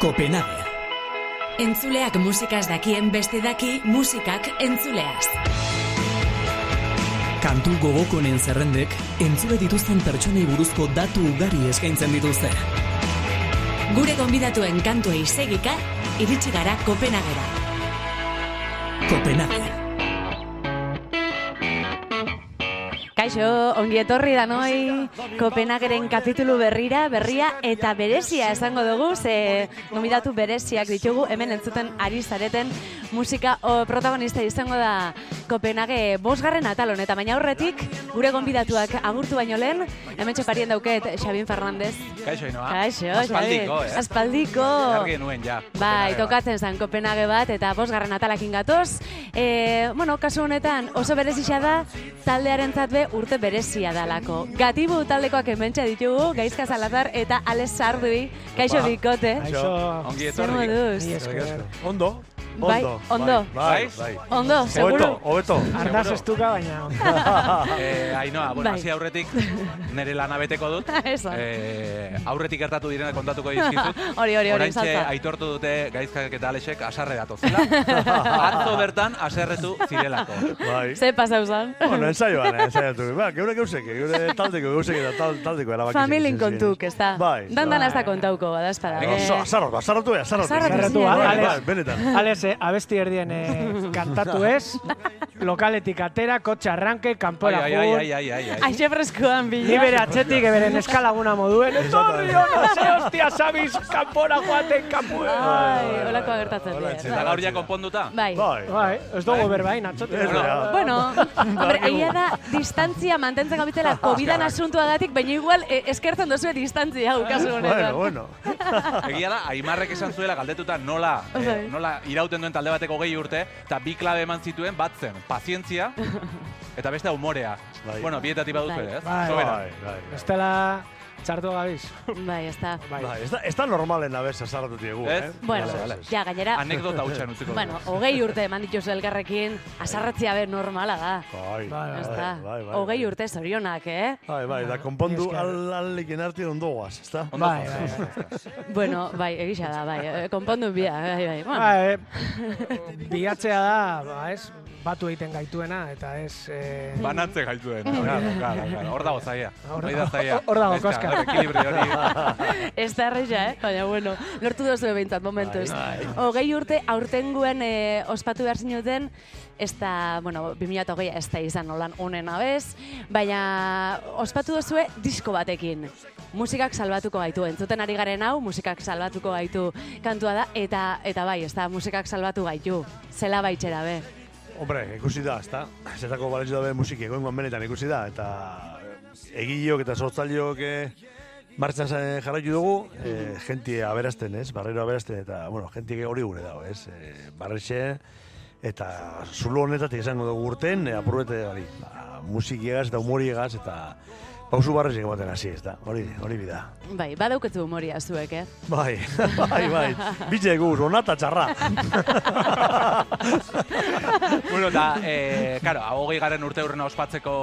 Copenhague. Entzuleak musikaz dakien beste daki musikak entzuleaz. Kantu gogokonen zerrendek entzule dituzten pertsonei buruzko datu ugari eskaintzen dituzte. Gure gonbidatuen kantuei segika, iritsi gara Kopenhagera. Copenhague. Kaixo, ongi etorri da noi, Kopenhageren kapitulu berrira, berria eta berezia esango dugu, ze gomidatu bereziak ditugu, hemen entzuten ari zareten musika o, protagonista izango da Kopenhage bosgarren atal honetan, baina aurretik gure gonbidatuak agurtu baino lehen, hemen txoparien dauket Xabin Fernandez. Kaixo, Inoa. Kaixo, Ah, Aspaldiko, Xabin. eh? Aspaldiko. Argi nuen, ja. Bai, Kopenhague bat. tokatzen zen Kopenhage bat eta bosgarren atalakin gatoz. E, bueno, kasu honetan oso berezia da, taldearentzat be urte berezia dalako. Gatibu taldekoak hementxe ditugu, Gaizka Salazar eta Ales Sardui, kaixo Ba. bikote. Kaixo, Zer ongi etorri. moduz? Eskerrik asko. Ondo? Bai, ondo. Bai, bai. Ondo, seguru. Hobeto, hobeto. Arnaz Seguro. estuka, baina ondo. Eh, Ainoa, bueno, Bai. hasi aurretik nire lana beteko dut. Eso. Eh, aurretik gertatu direna kontatuko dizkizut. Hori, hori, hori, Oraintxe salta. aitortu dute gaizkak eta alexek asarre datozela. Atzo bertan aserretu zirelako. Bai. Ze pasau zan? Bueno, ensaioan, ensaiatu. Ba, geure geusek, geure taldeko geusek eta tal, taldeko erabaki. Familin kontuk, ez da? Bai. Dandan ez da kontauko, Eh, badazpada. Bai. Oso, azarrotu, azarrotu, azarrotu. Azarrotu Azarrotu, zinen. Bai, Alex. bai, benetan. Ales, eh, abesti erdien eh, kantatu ez, lokaletik atera, kotxe arranke, Ai, kanpora ai, ai, jun, ai, ai, ai, ai. Aixe freskoan Ni bila. bere atxetik eberen eskalaguna moduen. Etorri hona, ze hostia, sabiz, kanpora joaten, kanpue. Bai, Ai, holakoa gertatzen Hola, dira. Eta gaur ja konponduta? Bai. Bai. Bai, ez dugu berbain, atxotik. Ez da. Bueno, Ba, hombre, egia da, distantzia mantentzen Ah, gabitzela COVID-an asuntuagatik, baina igual eh, eskertzen dozue distantzia hau, kasu honetan. Bueno, bueno. Egia da, Aimarrek esan zuela galdetuta nola, eh, Bai. nola irauten duen talde bateko gehi urte, eta bi klabe eman zituen bat zen, pazientzia eta beste humorea. Bai. Bueno, bietatik baduz Bai. ere, ez? Bai. Sobera. Bai, bai. Estela, txartu gabiz. Bai, ez da. Bai. Bai, ez da- ez da normalen abez azarrotu diegu, Ez? eh? Bueno, Ez, ez, ez. ja, gainera, Anekdota hutsan utziko. bueno, dugu. hogei urte eman dituzu elkarrekin, asarratzia be normala da. Bai, Bai, Ez bai, da, bai, bai. hogei urte zorionak, eh? Bai, bai, da konpondu Esker. al, alekin artien ondoaz, ez da? Ondo Bai, zaude. bai. Bueno, bai, egisa da, bai, eh, konpondu bia, bai, bai. Bueno, Ba, eh, bilatzea da, ba, ez, batu egiten gaituena, eta ez... Eh, Banatze gaitu den. Claro, claro, claro. Hor dago zaia. Hor Hori dago- da zaia. hor dago Ez da, koska. hor Ekilibrio hori. Ez da erresa, eh? Bai, Baina, bueno, lortu duzu behintzat momentuz. Hogei urte aurtenguen eh, ospatu behar zinuten, ez da, bueno, 2008 ez da izan nolan honen abez, baina ospatu duzue disko batekin. Musikak salbatuko gaitu, entzuten ari garen hau, musikak salbatuko gaitu kantua da, eta eta bai, ez da, musikak salbatu gaitu, zela baitxera be. Hombre, ikusi da, ezta? Zetako balentzu dabe musiki egoingoan benetan ikusi da, eta eh, egileok eta sortzaileok eh, martxan za- jarraitu dugu, eh, jentie aberasten, ez? Barrero aberasten, eta, bueno, jentie hori gure dago, ez? Eh, barrexe, eta zulo honetatik izango dugu urten, eh, apurbete hori, ba, musikiegaz eta humoriegaz, eta pausu barrexek ematen hasi, ez da? Hori, hori bida. Bai, badauketzu humoria zuek, eh? Bai, bai, bai. Bitxe guz, onata txarra. bueno, da, eh, claro, hogei garen urte urrena ospatzeko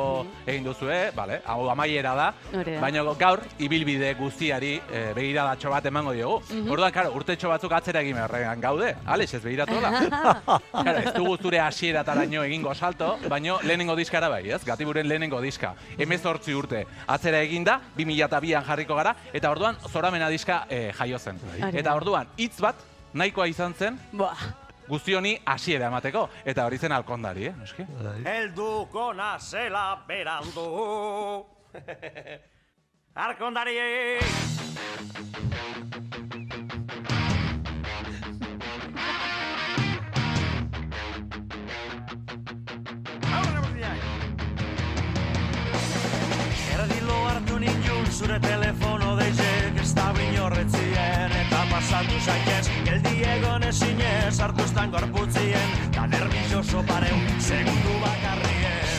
egin duzue, vale? Hau amaiera da, Hori da. baina gaur ibilbide guztiari eh, begiradatxo bat emango diogu. Mhm. Orduan, claro, urtetxo batzuk atzera egin beharrean gaude. Alex, ez begiratola. Claro, ez dugu zure hasierataraino egingo salto, baino lehenengo diskara bai, ez? Gatiburen lehenengo diska. 18 urte atzera eginda, 2002an jarriko gara eta orduan zoramena diska eh, jaio zen. Hori da. Eta orduan hitz bat nahikoa izan zen Boa, guzti honi hasiera emateko eta hori zen alkondari, eh, noski. Helduko nazela berandu Arkondari Erdilo hartu nindun zure telefono deizek Ez da brinorretzien eta pasatu zaitez Geldi egon ezinez hartu estan gorputzien Ta nervioso pareun segundu bakarrien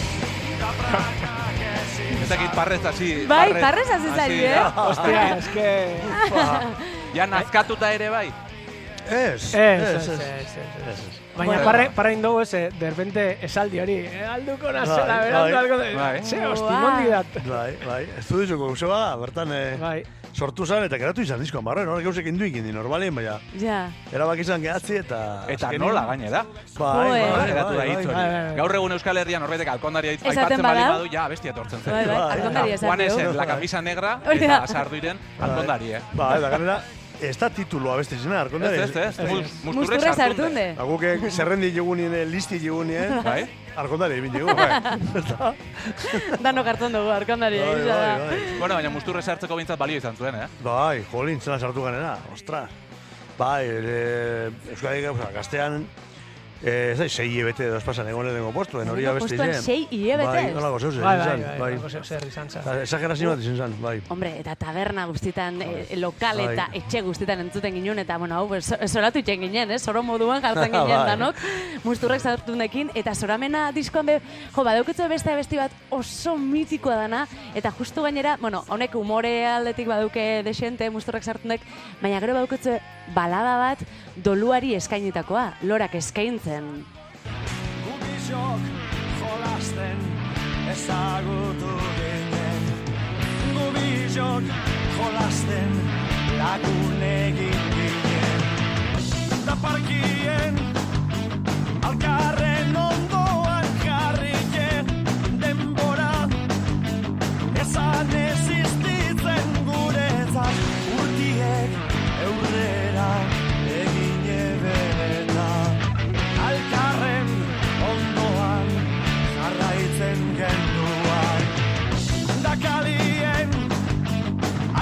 Ta prakak ezin Ez dakit parrez hasi. Bai, parrez hasi zari, da. Ostia, eske... Ja nazkatuta ere bai. Ez, Ez, ez, ez, ez. ez, ez. Ez, ez. Baina Bueno. parre, parre indogu ez, eh, derbente esaldi hori. eh, Alduko nazela, Bai, berandu bai, algo de... bai. Ze, hosti, Ua. nondi dat. Bai, bai, estudioko gauza bada, bertan, eh, Bai, sortu zen eta geratu izan diskoan barren, horrek gauzek indu egin di normalien, baina Ja. erabak izan gehatzi eta... Eta azkenean- nola gainera. Bai, Joe. bai, Nola bai, geratu da bai, hitz bai, bai. hori. Gaur egun Euskal Herrian horretek alkondaria hitz Esaten aipatzen bali badau? badu, ja, bestia etortzen zen. Bai, bai, alkondari esan Juan dugu. esen, la camisa negra, Hori da. eta sarduiren alkondari, eh? Ba, eta ganera, ez da titulua beste izena, Ez, arkondari. ez, ez, mus- Musturrek musturrek sartunde. sartunde. Ba, guk eh, zerrendi jogunien, eh, listi jogunien, Bai? arkondari ibin jogu. Bai, Dano karton dugu, arkondari. bai, egia da. bai. Bueno, baina musturre sartzeko bintzat balio izan zuen, eh? Bai, jolin, zela sartu ganera, ostra. Bai, e, Euskadi gauza, gaztean, e, ez da, sei hilabete edo espasan egon lehenengo postuen, hori Lehenengo abeste postuen sei hilabete? Bai, nola gozo zen, Bai, bai, izan, bai, bai. bai, zer izan zen. Exagerazio bat izan zen, bai. Hombre, eta taberna guztietan, e, lokal Bai. eta etxe guztietan entzuten ginen, eta, bueno, hau, pues, zoratu itxen ginen, eh? Zoro moduan jartzen ginen Bai. danok, musturrek sartunekin, eta zoramena diskoan be, jo, badaukitzu beste abesti bat oso mitikoa dana, eta justu gainera, bueno, honek umore aldetik baduke desente, musturrek sartunek, baina gero badaukitzu balada bat doluari eskainitakoa, lorak eskaintzen. Gubizok jolasten ezagutu ginen Gubizok jolasten lagun egin ginen Da parkien alkarren ondoan jarrike denbora Ezan ez iztitzen guretzat urtiek eurrera egin ebenetan Alkarren ondoan jarraitzen genduan Dakalien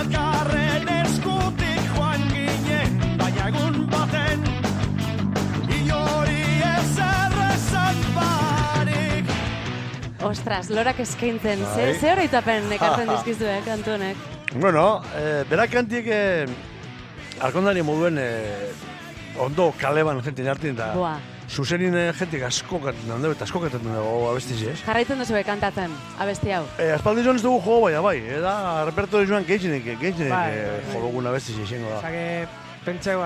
alkarren eskutik joan ginen Baina egun baten inori ez errezak barik Ostras, lorak eskaintzen, Bai. ze, ze horreitapen ekartzen eh, dizkizue, kantunek. Bueno, eh, berak kantiek eh, arkondari moduen eh, ondo kaleban jenten hartin da. Boa. Zuzenin eh, jentik asko kanten dago, eta asko kanten dago abestiz, ez? Jarraitzen duzu kantatzen, abesti hau. Eh, aspaldi joan ez dugu jo, baina bai, eta reperto joan geitzenek, geitzenek Bai, eh, bai. jo dugun abestiz izango da. Zake, pentseu,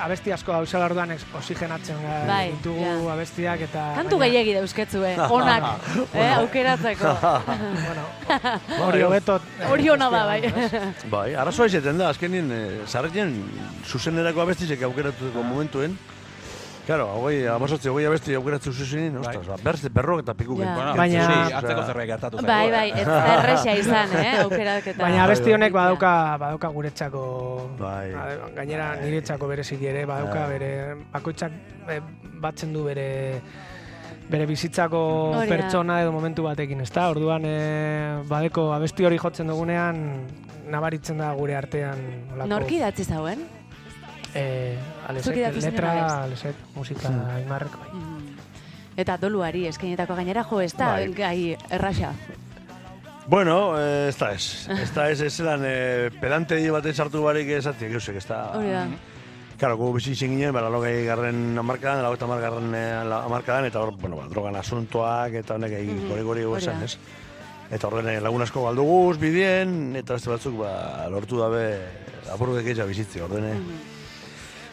abesti asko dauzela orduan ex- oxigenatzen gara Bai, ditugu ja. abestiak eta... Kantu baina, gehiegi dauzketzue, onak, eh, aukeratzeko. Bueno, hori hobeto... eh, Hori ona da, bai. ez? Bai, arazoa izaten da, azkenin, eh, sarrien zuzenerako abestizek aukeratuko momentuen. Claro, hogei, amazotzi, hogei abesti aukeratu zuzenin, Bai. ostras, ba, berz, berrok eta piku Ja. kentzen. Bueno, Baina- sí, atzeko zerbait gertatu zaigu, Ah. Bai, eh? bai, ez da erresa izan, eh, aukeraketa. Baina abesti honek Bai, bai. badauka, badauka guretzako, Bai. a- gainera niretzako bereziki ere, badauka Bai. bere, bakoitzak eh, batzen du bere bere bizitzako Hori da. pertsona edo momentu batekin, ezta? Orduan e, badeko abesti hori jotzen dugunean nabaritzen da gure artean olako, Norki datzi zauen? eh, alesek, Zuki dakizunen letra, abesti. alesek, musika, Hmm. aimarrek, bai. Eta doluari eskainetako gainera jo, ez da Bai. gai errasa. Bueno, eh, ez da ez. Ez da ez, ez zelan eh, pedante baten sartu barik ez atzik, eusek, ez da... Hori da. Claro, gu bizi izin ginen, bera logei garren amarkadan, lagoita amargarren amarkadan, eh, eta hor, bueno, ba, drogan asuntoak, eta honek egin gori gori Mhm, hori esan, da. ez? Eta horren eh, lagun asko galduguz, bidien, eta beste batzuk, ba, lortu dabe, apurgek egitza bizitzi, ordene. Mhm.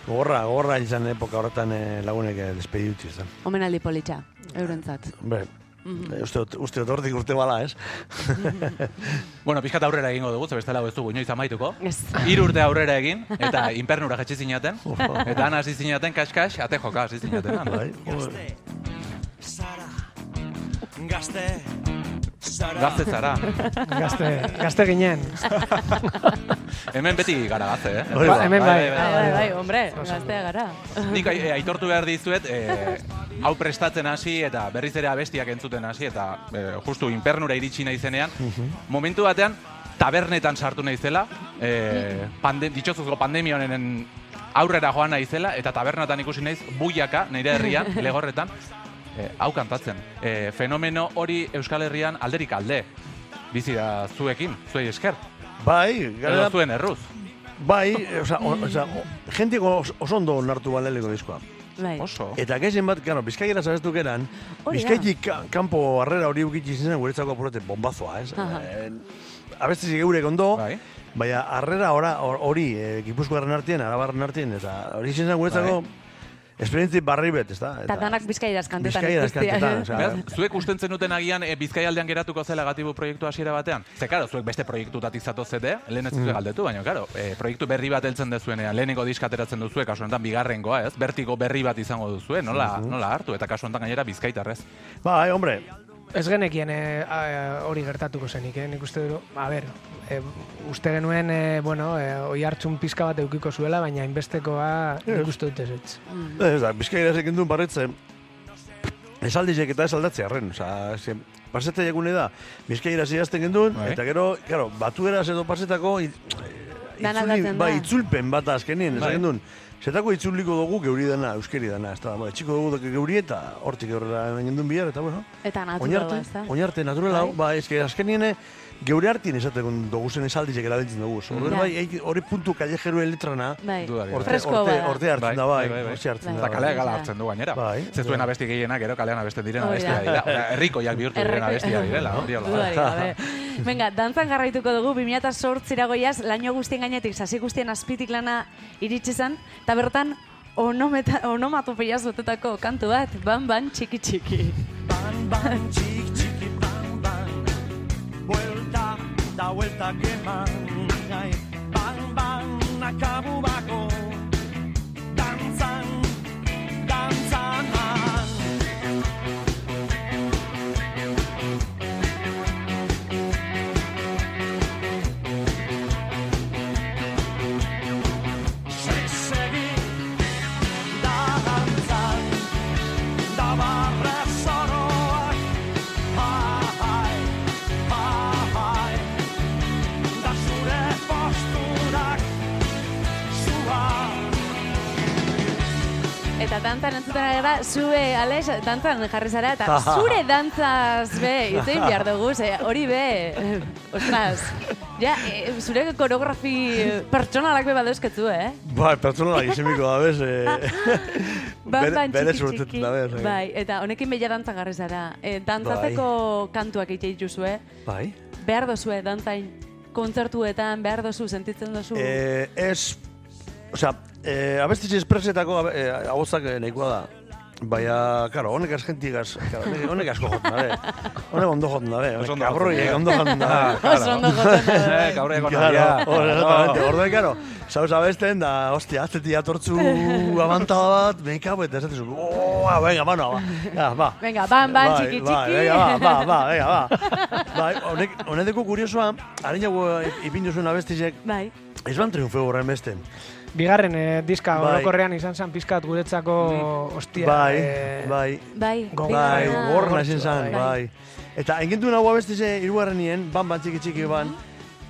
Gorra, gorra izan epoka horretan eh, lagunek eh, despedi utzi, ez da. Omenaldi politxa, eurentzat. Hombre, Mhm. uste dut- uste dut hortik urte bala, ez? Bueno, pixkat aurrera egingo dugu, ze bestela hau ez dugu inoiz amaituko. Ez. Hiru urte aurrera egin, eta inpernura jatsi zinaten, eta han hasi zinaten, kas-kas, ate joka hasi zinaten. han. Bai, Gazte Zara Gazte Zara Gazte zara. Gazte, gazte ginen. Hemen beti gara gazte, eh? Hori da. Ba, hemen bai. Bai, bai, bai, hombre, gaztea gara. Nik ai- eh, aitortu behar dizuet, eh, hau prestatzen hasi eta berriz ere abestiak entzuten hasi eta eh, justu inpernura iritsi naizenean, momentu batean tabernetan sartu naizela, eh, pande, ditxozuzko pandemia honen aurrera joan naizela eta tabernetan ikusi naiz buiaka nire herrian, legorretan, eh, hau kantatzen. Eh, fenomeno hori Euskal Herrian alderik alde. Bizi da zuekin, zuei esker. bai Edo gara, zuen erruz. Bai, oza, o, oza, o, jentik os- oso ondo onartu baleneko diskoa. Bai. Oso. Eta gehien bat, gano, bizkaiera zabestu geran, Hori da. bizkaitik ka- kanpo harrera hori ukitzi zen guretzako apurete bombazoa, ez? Aha. Eh, Abestizik eurek ondo, Bai. baina eh, harrera ora- hor- hori, e, gipuzkoaren artien, arabarren artien, eta hori izan zen guretzako esperientzi barri bet, ez da? Eta danak bizkaieraz kantetan. Bizkaieraz guztia. kantetan, osea. Beraz, zuek ustentzen duten agian e, Bizkaialdean geratuko zela gatibu proiektu hasiera batean. Mm. Ze, karo, zuek beste proiektutatik zatozete, lehen ez duzue galdetu, baina, karo, e, proiektu berri bat heltzen dezuenean, lehenengo diska ateratzen duzue, kasu honetan bigarrengoa, ez? Bertiko berri bat izango duzue, nola, nola hartu, eta kasu honetan gainera bizkaitarrez. Bai, hombre, Ez genekien eh, a- hori gertatuko zenik, eh? nik uste dut, a ber, eh, uste genuen, eh, bueno, eh, oi hartzun pizka bat eukiko zuela, baina inbestekoa nik uste dut ez ez. Eh, Ez da, bizkaira zekin duen barretzen, esaldizek eta esaldatze arren, oza, zen, paseta jakune da, bizkaira zehazten gendun, Bai. eta gero, claro, batueraz edo pasetako, i- Dan itzuli- aldatzen ba, da. itzulpen bat azkenien, Bai. esaten duen, zetako itzuliko dugu geuri dana, euskeri dana, ez da, ba, etxiko dugu dugu geuri eta hortik horrela hemen gendun bihar, eta bueno, Eta naturala, oinarte, ez da? oinarte, naturala, Bai. ba, eske azkenien, eh, geure hartien esaten dugu zen esaldizek erabiltzen dugu, so, Ja. bai, ei- hori puntu kallejeru eletrana, Bai. Dudarik. Horte, Freskoa horte, bada. horte hartzen Bai, da, bai, bai, bai, bai. horte hartzen Bai. da. Eta bai. kalea gala Ja. hartzen du gainera. Bai, Ze zuen abesti gehiena, gero kalean abesten diren Hori da. abestia dira. Osea, Herrikoiak bihurtu diren Herrikoi- abestia direla, hori hola. Dudarik gabe. Venga, dantzan jarraituko dugu 2008 goiaz, laino guztien gainetik, sasi guztien azpitik lana iritsi zen, eta bertan onometa, onomatopeiaz botetako kantu bat, ban ban txiki txiki. Bang, bang, txik, txiki, bang, bang Buelta, da buelta que man Ai, Bang, bang, nakabu bako Dantzan, dantzan man Sek segi, da dantzan da barra zoroak Bai, bai Da zure posturak Zua Eta dantzan entzuten ari gara, zue, Alex, dantzan jarri zara, eta zure dantzaz be, itzein behar dugu, ze hori be, eh, ostras, ja, eh, zure koreografi pertsonalak be badauzkatzu, eh? Bai, pertsonalak isemiko da, bez? Eh, Ban ban bere txiki Ba, sortetan txiki. da, bez? eh. Bai, eta honekin bila dantzan jarri zara. E, dantzatzeko kantuak egite dituzue. Bai. Behar dozue dantzain kontzertuetan, behar dozu, sentitzen dozu. Eh, ez, osea, eh, abestitxe espresetako abe- eh, ahotsak eh, nahikoa da. Baina, karo, honek askentigaz, karo, honek- honek asko jotzen da, be. Honek ondo jotzen da, be. Oso Honek ondo kabroi jotzen da. Ah. ondo jotzen da. Oso ondo jotzen da, bai. Eh, Gaur Oh. egon Claro, handia. hor- exactamente. Orduan, claro, zauz abesten, da, hostia, atzetik atortzu abantada bat, mekabu, eta esatezu, oa, venga, mano, ba, ja, ba. Venga, ban, ban, Bai, txiki, bai, txiki. venga, ba, ba, ba, venga, ba. Bai, honek, honek deko kuriosoa, harin jago ipin duzuen abestizek, Bai. ez ban triunfeo horren beste. Bigarren eh, diska Bai. orokorrean izan zen pizkat guretzako hostia. Bai, eh, bai, Bai, bai, Bigarrena. gorna izan Bai. zen, bai. Eta engendu nago abestize, irugarren nien, ban, ban, txiki, txiki, ban. Mhm.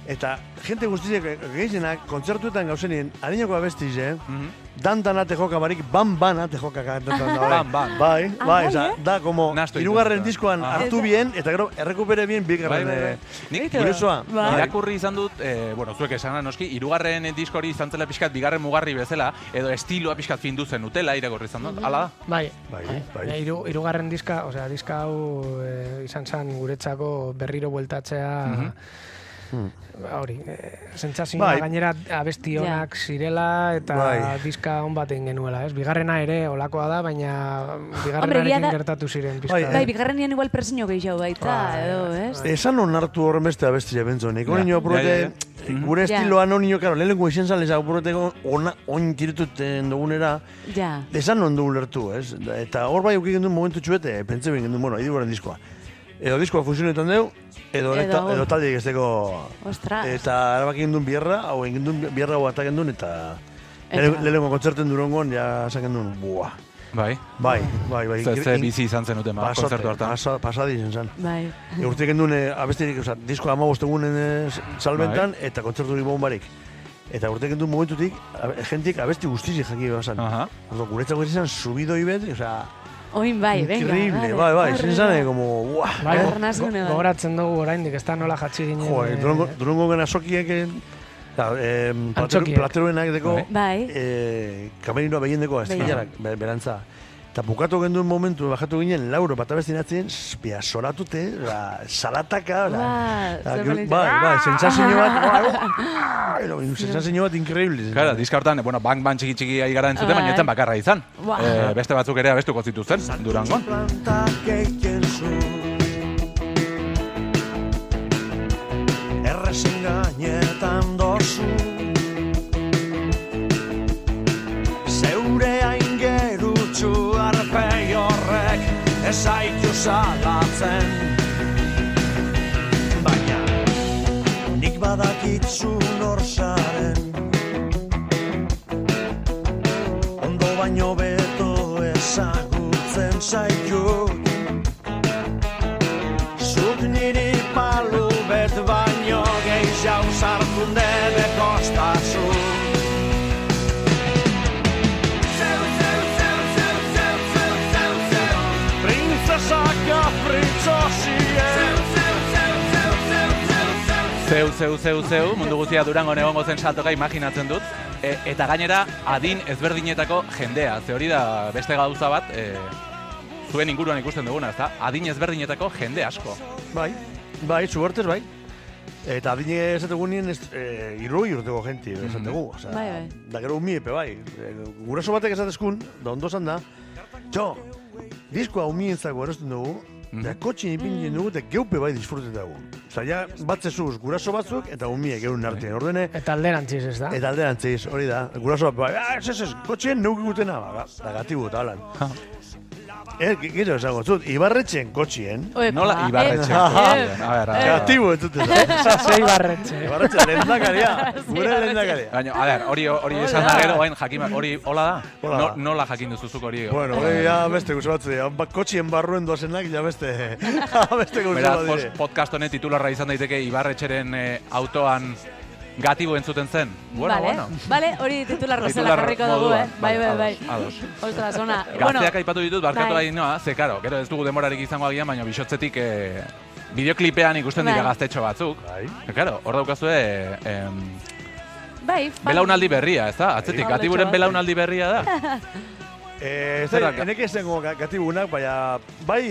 Eta jente guztizek gehienak kontzertuetan gauzenien, harinako abestize, Mhm. dan dana te joka barik, ban bana te joka kantatzen da. bai. Ban, ban. Bai, Ah, bai, bai, oza, eh? da, como, Nahastu irugarren egiten dut, diskoan ah. hartu bien, eta gero, errekupere bien bigarren. Bai, bai, bai. eh, Nik- kuriosoa. Bai. Irakurri izan dut, eh, bueno, zuek esana noski, irugarren disko hori izan zela pixkat, bigarren mugarri bezala, edo estiloa pixkat findu zen utela, irakurri izan dut, ala da? Bai, Bai, bai. bai. Iru, irugarren diska, osea, diska hau eh, izan zen guretzako berriro bueltatzea ba, hori, eh, sentsazioa Mhm. Bai. gainera abesti onak zirela eta Bai. diska on bat egin genuela, ez? Bigarrena ere olakoa da, baina Hombre, egia bigarrenarekin da- gertatu ziren pizka. Bai, Bai, bigarrenean igual presiño gehiago baita, edo, ez? Esan hon hartu horren beste abestize bentzon, eko Ja, nio ja, apurete, ja, Mhm. ja. eh, gure Ja. estiloa non nio, karo, lehenko izan zalez apurete ona, oin kirituten dugunera, Ja. Esan non dugu lertu, ez? Da- Eta hor bai uki gendun momentu txuete, pentsa bien gendun, bueno, iduaren diskoa. Edo diskoa fusionetan deu, edo, Edo edo, hor. edo talde egesteko... Ostras. Eta erabaki gendun bierra, hau egin gendun bierra hau atak gendun, eta... Eta- Lehen- Lehenengo kontzerten durongon, ja esan gendun, buah. Bai. Bai, bai, bai. Ze, ze bizi izan zenuten, ba, Pasote, konzertu hartan. pasa- pasadi izan zen. Bai. E, urte gendun, eh, abestirik, oza, disko ama bostegunen salbentan, eta kontzertu hori bombarik. Eta urte gendun momentutik, abe- jentik abesti guztizik jaki behar zen. Aha. Orduan, Guretzako izan subido ibet, oza, Oin bai, venga. Increíble, vale. bai, bai, Horre, izan zane, como, buah. Bai, go- Arnasgune bat. gogoratzen dugu oraindik, ez da nola jatzi ginen. Jo, eh, durango, durango gana sokiek, eh, da, eh, plateru, Antzokiek. plateruenak deko, Bai. Bai. eh, kamerinoa behien deko, ez Behien. diarak, be- berantza. Eta Eta bukatu genduen momentu, bajatu ginen, lauro bat abestin atzien, spia, soratute, ba, salataka, ba, Ua, ba, zer gero- feliz. bai, bai, sensazio bat, bai, bai, sensazio bat inkreíble. Claro, diska hortan, bueno, bank bank txiki txiki ari gara entzuten, baina Bai. ez zen bakarra izan. Bai. Eh, beste batzuk ere abestuko zituzten, Durangon. planta keiken zu Errezin gainetan dozu Zeure aingerutxu arpei horrek Ezaitu salatzen Baina nik badakitzun nor zaren Ondo baino beto ezagutzen zaitu Zut niri palu bet baino gehiago sartu nere kostazu Printzesak aprintzosie Zeu, zeu, zeu, zeu, mundu guztia Durangon egongo zen saltoka imaginatzen dut. E, eta gainera, adin ezberdinetako jendea. Ze hori da beste gauza bat, e, zuen inguruan ikusten duguna, ezta? Adin ezberdinetako jende asko. Bai, bai, zubertez, bai. Eta adine ez dugu nien ez, e, irroi urteko jenti, ez dugu. Osa, Bai, bai. Da gero umiepe, bai. E, guraso batek ez atezkun, da ondo zan da, txo, diskoa umientzako erosten dugu, da kotxin Mm. ipintzen dugu, eta geupe bai disfruten dugu. Osa, ja, batzezuz, guraso batzuk, eta umie geun artean. Ordene, Eta alderantziz ez da? Eta alderantziz, hori da. Guraso bat, bai, "Ah, ez, ez, ez, kotxien neuk gutena, ba, ba, da gatibu eta holan. Er, gero esango, zut, ibarretxen kotxien, Oepa. Nola ibarretxe. Ah, eh, A ber, a ber. gatibu entzuten. Zei barretxe. Ibarretxe lehendakaria, gure lehendakaria. Baina, a ber, hori, hori esan da gero, hain jakin, behar- hori, hola da? Hola No, da. nola jakin duzuzuk hori? Bueno, hori ja beste guzu batzu dira. Ba, kotxien barruen doazenak, ja beste, beste guzu Beraz, bat pos, dire. podcast honen titularra izan daiteke Ibarretxeren eh, autoan gatibo entzuten zen. Bueno, vale, bueno. vale, hori titular bezala Titular jarriko dugu, moduan, eh? Bai, bai, vale, bai. ados, Ostras, ona. Gazteak aipatu ditut, barkatu bai. bai. noa, ze karo, gero ez dugu demorarik izango agian, baina bisotzetik eh, bideoklipean ikusten dira Bai. gaztetxo batzuk. Bai. Eta, Karo, hor daukazue, eh, em, bai, fan. belaunaldi berria, ez da? Atzetik, Bai. gatiburen belaunaldi berria da. Eh, ez da, Zerrak- eneke esengo ga- gatibunak, baina bai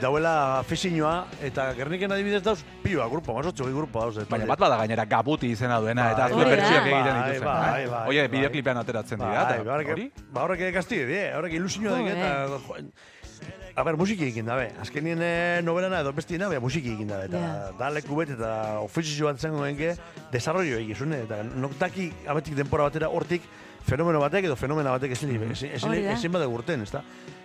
dauela fixinoa, eta gerniken adibidez dauz, piba, grupo, mazotxo gehi grupo dauz. Baina bat bada gainera gabuti izena duena, eta Bai. azkue Hori da. bertsioak egiten Bai, dituzen. bai, eh? bai, Oie, bai. bideoklipean ateratzen dira, Bai, eta hori? horrek, ba, horrek ere gazti, die, horrek ilusioa Jo, dike, eta... jo, A ber, musiki egin dabe. Azkenien eh, novelana edo bestiena, bea musiki egin dabe. Eta Ja. da leku bet eta ofizio bat zengo genke, desarrollo egin zuen, eta noktaki abetik denpora batera hortik fenomeno batek edo fenomena batek ezin mm ezin, ezin, Hori da. ezin bada urten, ezta?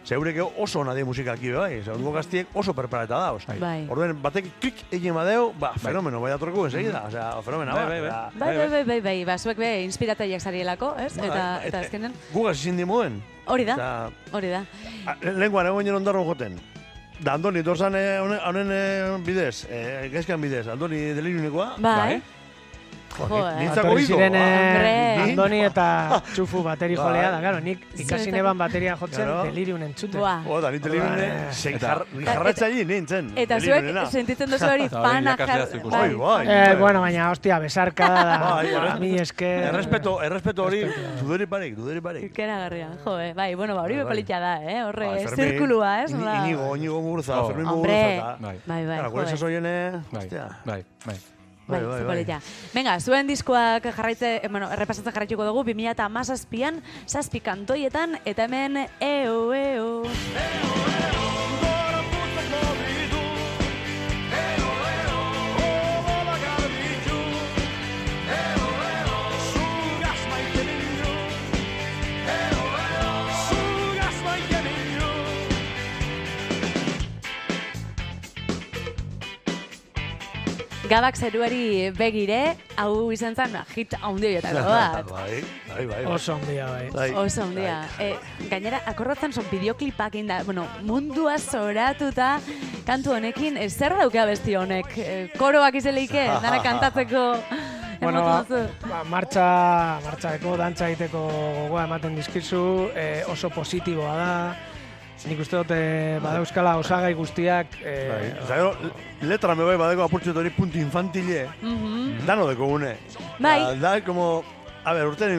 Zeureke oso ona die musikaki be bai, zeureko gaztiek oso perpareta dauz. Bai. Orduen batek klik egin badeu, ba, fenomeno bai atorku ensegida, osea, fenomena Bai, bat, bai, bai. eta- Bai, bai, bai, bai, bai, ba, zuek be, inspirataileak zarielako, ez? Bai. Eta, eta azkenen, Gugaz izin dimuen. hori da, Eta, hori da. A, Lenguan egon ginen ondarro joten. Da, Andoni, dorzan eh, honen- honen eh, bidez, eh, gaizkan bidez, Andoni delirunikoa. Bai, Bai. jo, eh. Nintzako Atorri oido, ziren Hombre. eh, Andoni eta Txufu bateri Bai. jolea da, garo, nik ikasi Zuetan. neban bateria jotzen Claro. deliriun entzuten. Buah. Oda, Ah. ni delirune, Bai. zein Eta- jar, jarratzaile nintzen. Eta zuek sentitzen duzu hori Eta hori fanak irakaslea jar- zuk uste. Bai, bai. Eh, bueno, baina, hostia, besarka da, Bai, da, bai. mi esker. Errespeto, errespeto hori, duderi parek, duderi parek. Ikeragarria, Bai, jo, eh. bai, bueno, ba, hori Bai, bai. bepalitia da, eh, horre, Ba, Fermin, zirkulua, ez? Ini- Nola- Inigo, inigo muguruza, Oh. Fermin Hombre, muguruza. eta- bai, bai, Bai. Claro, Gure jo, eh. sasoiene, Bai, hostia. bai, bai. Bai, Bai, bai, bai, bai. Venga, zuen diskoak jarraitze, eh, bueno, errepasatzen jarraituko dugu 2017an, zazpi kantoietan, eta hemen eo, eo. Gabak zeruari begire, hau izan zen hit haundioietako bat. Bai, bai, bai. Oso handia, bai. Bai. Oso handia. E, gainera, akordatzen son bideoklipak inda, bueno, mundua zoratuta, kantu honekin, e, zer dauka besti honek? E, koroak izeleike, dana kantatzeko, Bueno, ba, emotu duzu. ba, martxa, martxaeko, dantza egiteko gogoa ematen dizkizu, eh, oso positiboa da, nik uste dut eh, badauzkala osagai guztiak, Bai. eh, Eta gero, letra me bai badeko apurtxo hori puntu infantile. Dano deko gune. Mhm. Bai. Da, como, a ber, urte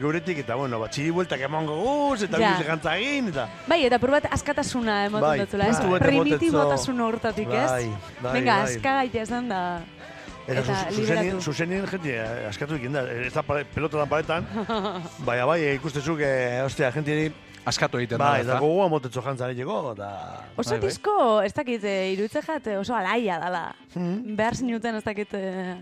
geuretik, eta, bueno, bat, txiri bueltak eman goguz, eta Ja. yeah. jantza egin, eta... Bai, eta pur bat askatasuna eh? Bai, ematen dutela, bai. ez? Bete Primitibotasun hortatik, ez? Bai, bai, Venga, bai. askagaita esan da. Eta, Eta zu- zuzenien, liberatu. zuzenien jende eh, askatu egin da, ez da pare, pelotan paretan, baina bai, ikustezuk, eh, ostia, jentieri, Askatu egiten bai, da, eta gogoa motetzo jantza egiteko, eta... Oso Bai, bai. disko, ez dakit, eh, iruditze jat, eh, oso alaia dala. Hmm? Behar zinuten, ez dakit, eh,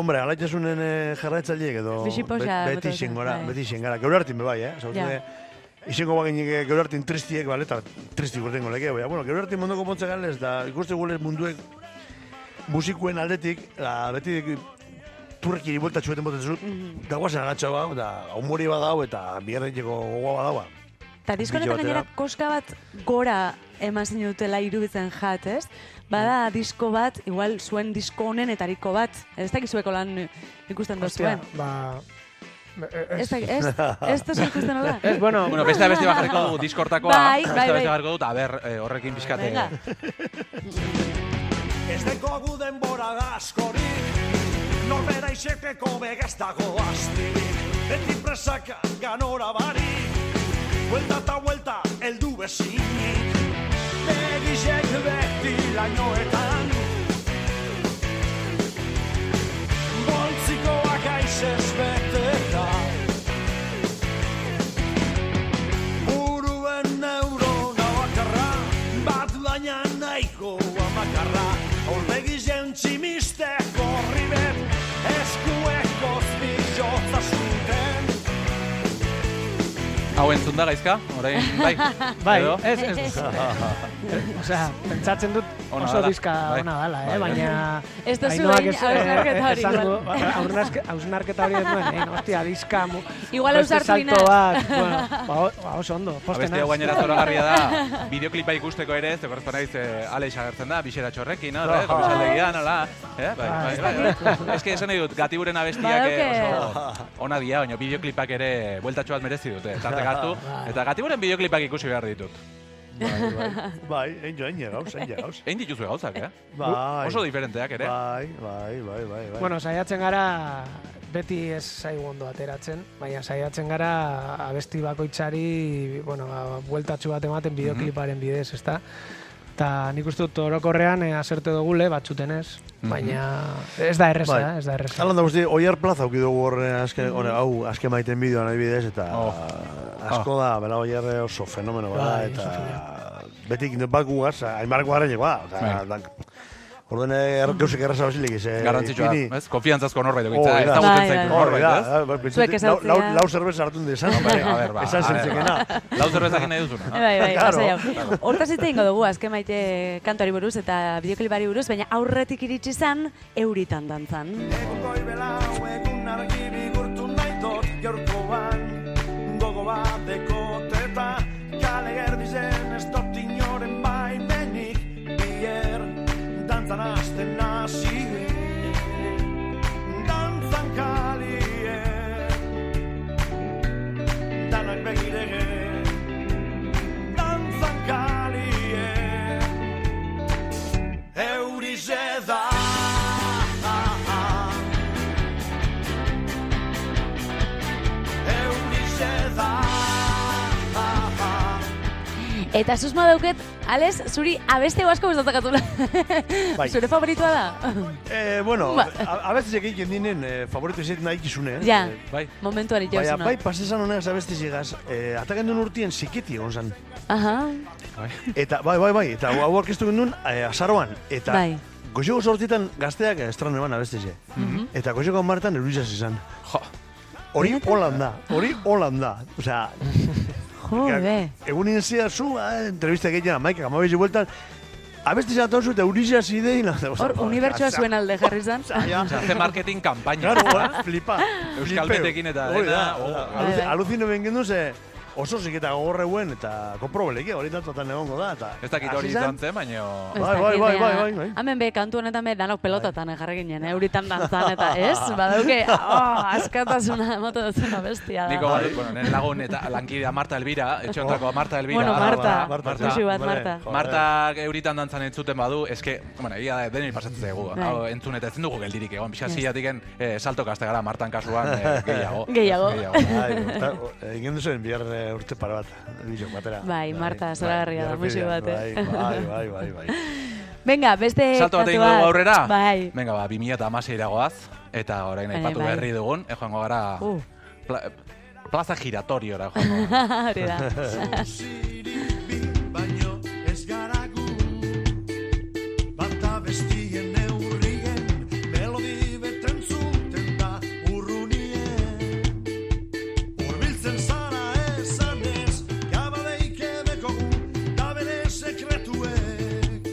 Hombre, alaitasunen eh, jarraitzaileek edo Biziposa be- beti botatzen, xengora, bai. beti xengara. Gero hartin be bai, eh? Zabutu Ja. yeah. Izengo baginik gero hartin tristiek, bale, eta tristik urtengo lege, baina, bueno, gero hartin mondoko pontze galez, da ikuste gulez munduek musikuen aldetik, da, beti turrek iri buelta txueten boten zut, dagoazen agatxo ba, da, omori badau eta biarreteko gogoa badaua. Eta disko Bilo honetan gainera batera. koska bat gora eman zinutela iruditzen jat, ez? Bada Mm. disko bat, igual zuen disko honenetariko bat. Ez dakizueko lan ikusten Ostia, duzuen. ba... e- e- Ez Ez, da, ez, ez duzu ikusten hola. ez, ba- bueno, Bueno, beste beste bajarriko du, diskortakoa. Bai, bai, Beste bai. beste bajarriko du, eta ber, eh, horrekin pixkate. Venga. Ez dekogu denbora askorik Norbera isekeko begaz dago astirik Beti presaka ganora barik Buelta eta buelta heldu bezinik Begizek beti lainoetan Boltzikoak aizez beteta Buruen neurona bakarra Bat baina nahiko amakarra Olbegi jentzimiste gorri bet Eskueko zbizotza zuten Hau entzun da, gaizka? Orain, bai. bai, Edo? ez, ez. Osea, pentsatzen dut Ona oso dala, diska bai. ona dala, eh? Bai, bai. baina... Ez duzu Ainhoak egin ez- eh, hausnarketa hori, esango- igual. ba- hausnarke- Hausnarketa hori ez nuen, eh? Ostia, diska... mu- Igual beste ausartu salto ginen. bat, bueno, ba, o- ba, oso ondo, posten Abeste hau naiz. gainera zoragarria da, bideoklipa ikusteko ere, ez dekortzen naiz eh, Alex agertzen da, bisera txorrekin, no, eh, komisaldegia, nola, eh, bai, bai, bai, bai. Ez que esan nahi dut, gatiburen abestiak eh, Badauke. oso ona dia, baina bideoklipak ere bueltatxo bat merezi dute, tarte gartu, eta gatiburen bideoklipak ikusi behar ditut. Bai, bai, bai, egin jo, egin gauz, egin gauz. Egin dituzue gauzak, eh? Bai, Oso diferenteak ere. bai, bai, bai, bai, bai. Bueno, saiatzen gara beti ez zaigu ondo ateratzen, baina saiatzen gara abesti bakoitzari, bueno, ba, bueltatxu bat Mhm. ematen bideokliparen bidez, ezta? Ta nik uste dut orokorrean eh, azerte dugule, batzutenez, baina ez da erreza, Mhm. Bai. eh, ez da erreza. Alan da guzti, oiar plaza auki dugu horre azken, horre, hau, azken maiten bideoan adibidez, eta Oh. asko da, bela oiar oso fenomeno bada, Bai, oso eta betik indet bat gugaz, aimarrak guaren jeko, ba, eta, dan, orduen er, gauzek erraza basilik, ez, eh, Garrantzitsua, ipini. Oh, ez? Konfiantzazko norbait Hori egitza, da. ez da Bai, gutzen zaitu bai. Hori norbait, da, ez? bai, pentsatzen, Zuek lau, lau, ezagutzea. lau zerbez hartu dut esan, Hombre, a ber, ba, esan a ber, zentzekena. ba. Lau zerbezak nahi duzuna. Bai, bai, Eh, Claro. lasai hau. Hortaz hitz egingo dugu, azken maite kantuari buruz eta bideoklipari buruz, baina aurretik iritsi zan, euritan dantzan. Goi belau egun argi bigurtu nahi dut gaurkoan Gogo bat dekoteta Kale gerdi zen ez dut inoren baimenik Bier dantzan azten nazi Dantzan kalien Danak begirege Dantzan kalien Eurize da Eurixe da Eta susma dauket, Ales, zuri abeste asko gustatzakatula. Bai. Zure favoritua da? Eh, bueno, Ba. a- abestiak egiten dinen eh, favoritu izaten nahi ikizune, eh? ja, Eh, Bai. momentuan ito Baina, bai, pasesan honegaz abestiz egaz, eh, ataken duen urtien zikiti egon zan. Aha, Eta, bai, bai, bai, eta hau aurkeztu gendun, eh, azaroan, eta Bai. goxeko sortietan gazteak eh, estran eman abestize. Mhm. Eta goxeko martan eurizaz izan. Jo, Hori Holanda, hori Holanda. Osea, jo, be. egun inzia zu, ah, entrevista egiten amaikak, amabezi bueltan, abestize atan zu eta eurizaz idein. Hor, unibertsua zuen alde jarri zan. Ja, Hace marketing kampaina. Claro, flipa. Euskal Flipeo. betekin eta Hori dena, da, oh. Bai, da. Aluzi- Aluzino ben gendu ze, oso ziketa gogorreuen eta konprobelekia hori datuetan egongo da. Eta, Ez dakit hori hasi zen, izan zen, baina... Bai, bai, bai, bai, bai, bai. Hemen be, kantu honetan be, danok Bai. pelotatan jarri ginen, eh? euritan dantzan eta ez, badauke, oh, askatasuna emoten duzuna bestia da. Niko, bai, bueno, nire lagun eta lankidea Marta Elvira, etxontako Marta Elvira. Bueno, Marta, Ah, ba, Marta, Marta. musu bat, Hombre, Marta. joder. Marta euritan dantzan entzuten badu, eske, bueno, egia da, denei pasatzen zaigu, Bai. hau entzun eta ezin dugu geldirik egon, pixka Ez. zilatik eh, salto kaste gara Martan kasuan eh, gehiago. Gehiago. Bai, urta- o- egin duzuen bihar eh, urte para bat, bideo batera. Bai, Marta, zoragarria da, bihar musu bidean, bat, eh. Bai, bai, bai, bai, bai. Venga, beste Salto bat Eh, kantu egingo dugu aurrera? Bai. Venga, ba, 2000 eta goaz, eta orain Eh, aipatu bai. berri dugun, eh, joango gara Uh. pla, plaza giratoriora joango gara. Hori da. baino ez gara gu Bata bestien neurrien melodi beten zuten da urrunien Urbiltzen zara esan ez gabadeik edekogu da bere sekretuek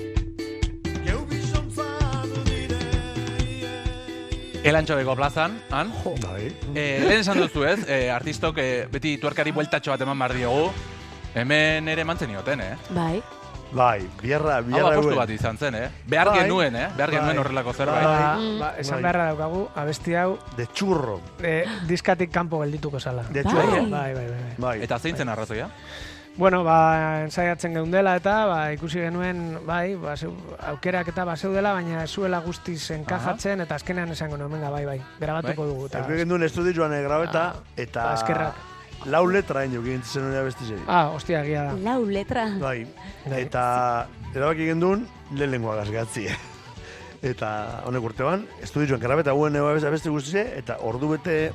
Geu bizontzan dire Elantxobeko plazan, han, Bai. Eh, lehen esan duzu ez, eh, artistok eh, beti tuerkari bueltatxo bat eman behar diogu. Hemen ere eman zenioten, eh? Bai. Bai, biarra, Hau biarra apostu euen. bat izan zen, eh? Behar Bai. genuen, eh? Behar genuen Bai. horrelako zerbait. Ba, ba, Bai. esan beharra daukagu, abesti hau De churro. eh, diskatik kanpo geldituko zala. De Bai. churro. Bai, bai, bai. bai. Bai. Eta zein zen arrazoia? Bueno, ba, ensaiatzen geundela eta ba, ikusi genuen, bai, ba, zeu, aukerak eta bazeudela, baina ez zuela guztiz enkajatzen, eta azkenean esango nuen, venga, bai, bai, grabatuko Bai. dugu. Eta, Eta egin duen estudioan eh, grabeta, eta... ba, eskerrak. Lau letra egin dugu egin zenuen abesti zeri. ah, ostia, egia da. Lau letra. Bai, Bai. eta erabaki egin duen lehen lengua gazgatzi. eta honek urtean, estudioan grabeta guen abesti guztize, eta ordu bete...